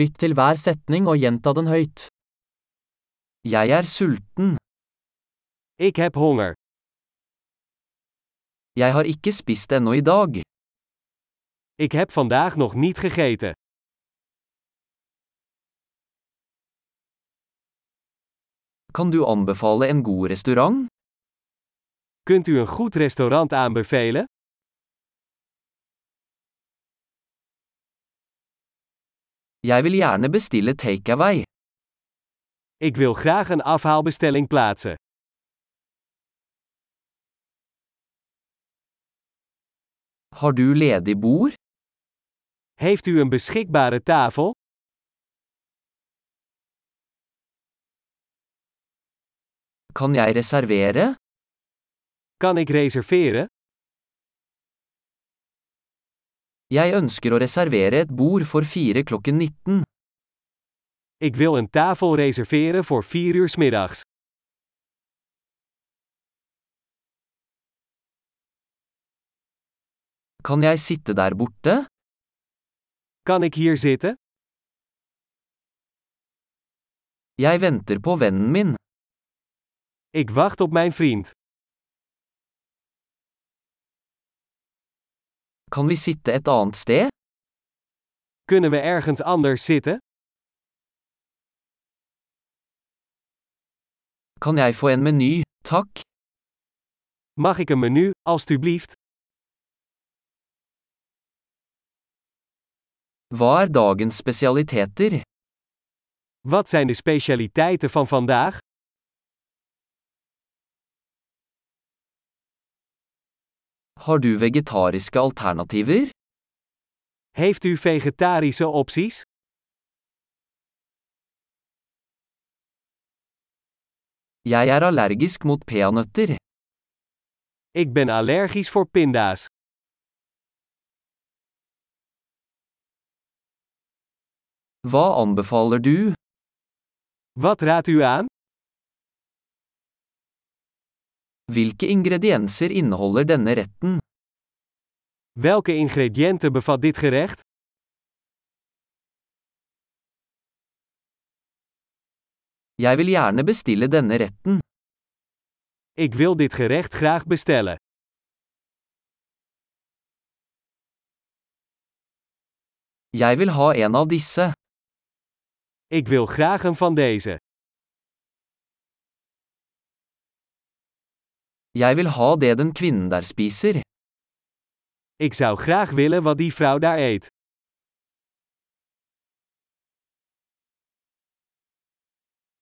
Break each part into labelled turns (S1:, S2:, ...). S1: Lytt til hver setning og gjenta den høyt. Jeg er sulten.
S2: Ik heb honger.
S1: Jeg har ikke spist ennå i dag.
S2: Ik heb vandaag nog niet gegeten.
S1: Kan du anbefale en god restaurant?
S2: Kunt u een goed restaurant aanbevelen?
S1: Jeg vil gjerne bestille takeaway.
S2: Ik wil graag een afhaalbestelling plaatsen.
S1: Har du ledig bord?
S2: Heeft u een beschikbare tafel?
S1: Kan jeg reservere?
S2: Kan ik reserveren?
S1: Jeg ønsker å reservere et bord for fire klokken 19.
S2: Ik wil een tafel reserveren voor 4 uur 's middags.
S1: Kan jeg sitte der borte?
S2: Kan ik hier zitten?
S1: Jeg venter på vennen min.
S2: Ik wacht op mijn vriend.
S1: Kan vi sitte et annet sted?
S2: Kunnen we ergens anders zitten?
S1: Kan jeg få en meny, takk?
S2: Mag ik een menu, alstublieft?
S1: Hva er dagens spesialiteter?
S2: Wat zijn de specialiteiten van vandaag?
S1: Har du vegetariske alternativer?
S2: Heeft u vegetarische opties?
S1: Jeg er allergisk mot peanøtter.
S2: Ik ben allergisch voor pinda's.
S1: Hva anbefaler du?
S2: Wat raadt u aan?
S1: Hvilke ingredienser inneholder denne retten?
S2: Welke ingrediënten bevat dit gerecht?
S1: Jeg vil gjerne bestille denne retten.
S2: Ik wil dit gerecht graag bestellen.
S1: Jeg vil ha en av disse.
S2: Ik wil graag een van deze.
S1: Jeg vil ha det den kvinnen der spiser.
S2: Ik zou graag willen wat die vrouw daar eet.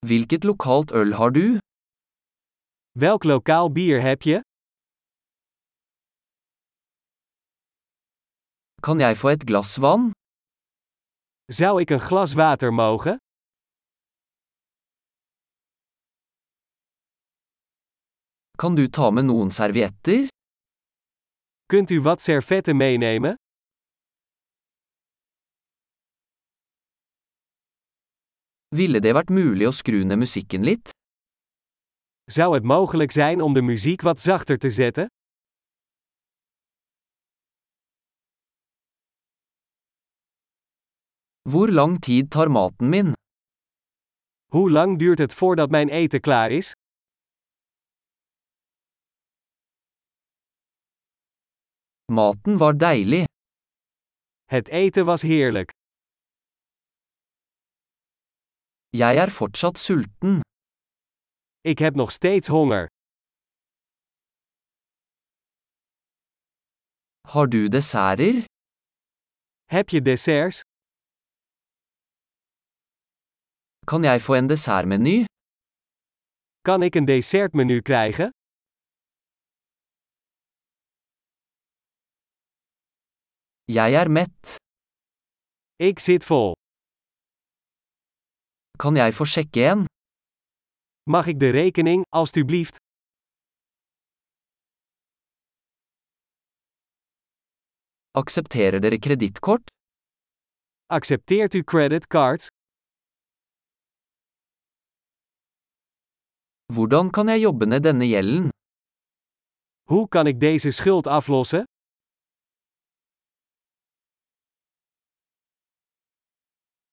S1: Hvilket lokalt øl har du?
S2: Welk lokaal bier heb je?
S1: Kan jeg få et glass vann?
S2: Zou ik een glas water mogen?
S1: Kan du ta med noen servietter?
S2: Kunt u wat servetten meenemen?
S1: Ville det vært mulig å skru ned musikken litt?
S2: Zou het mogelijk zijn om de muziek wat zachter te zetten?
S1: Hvor lang tid tar maten min?
S2: Hoe lang duurt het voordat mijn eten klaar is?
S1: Maten var deilig.
S2: Het eten was heerlijk.
S1: Jeg er fortsatt sulten.
S2: Ik heb nog steeds honger.
S1: Har du desserter?
S2: Heb je desserts?
S1: Kan jeg få en dessertmeny?
S2: Kan ik een dessertmenu krijgen?
S1: Jeg er mett.
S2: Ik zit vol.
S1: Kan jeg få sjekke en?
S2: Mag ik de rekening, alstublieft?
S1: Aksepterer dere kredittkort?
S2: Accepteert u creditcards?
S1: Hvordan kan jeg jobbe ned denne gjelden?
S2: Hoe kan ik deze schuld aflossen?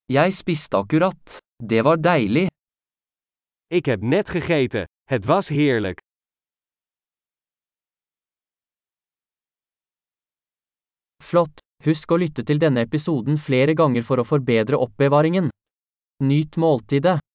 S1: Jeg spiste akkurat. Det var deilig.
S2: Ik heb net gegeten. Het was heerlijk.
S1: Flott. Husk å lytte til denne episoden flere ganger for å forbedre oppbevaringen. Nyt måltidet.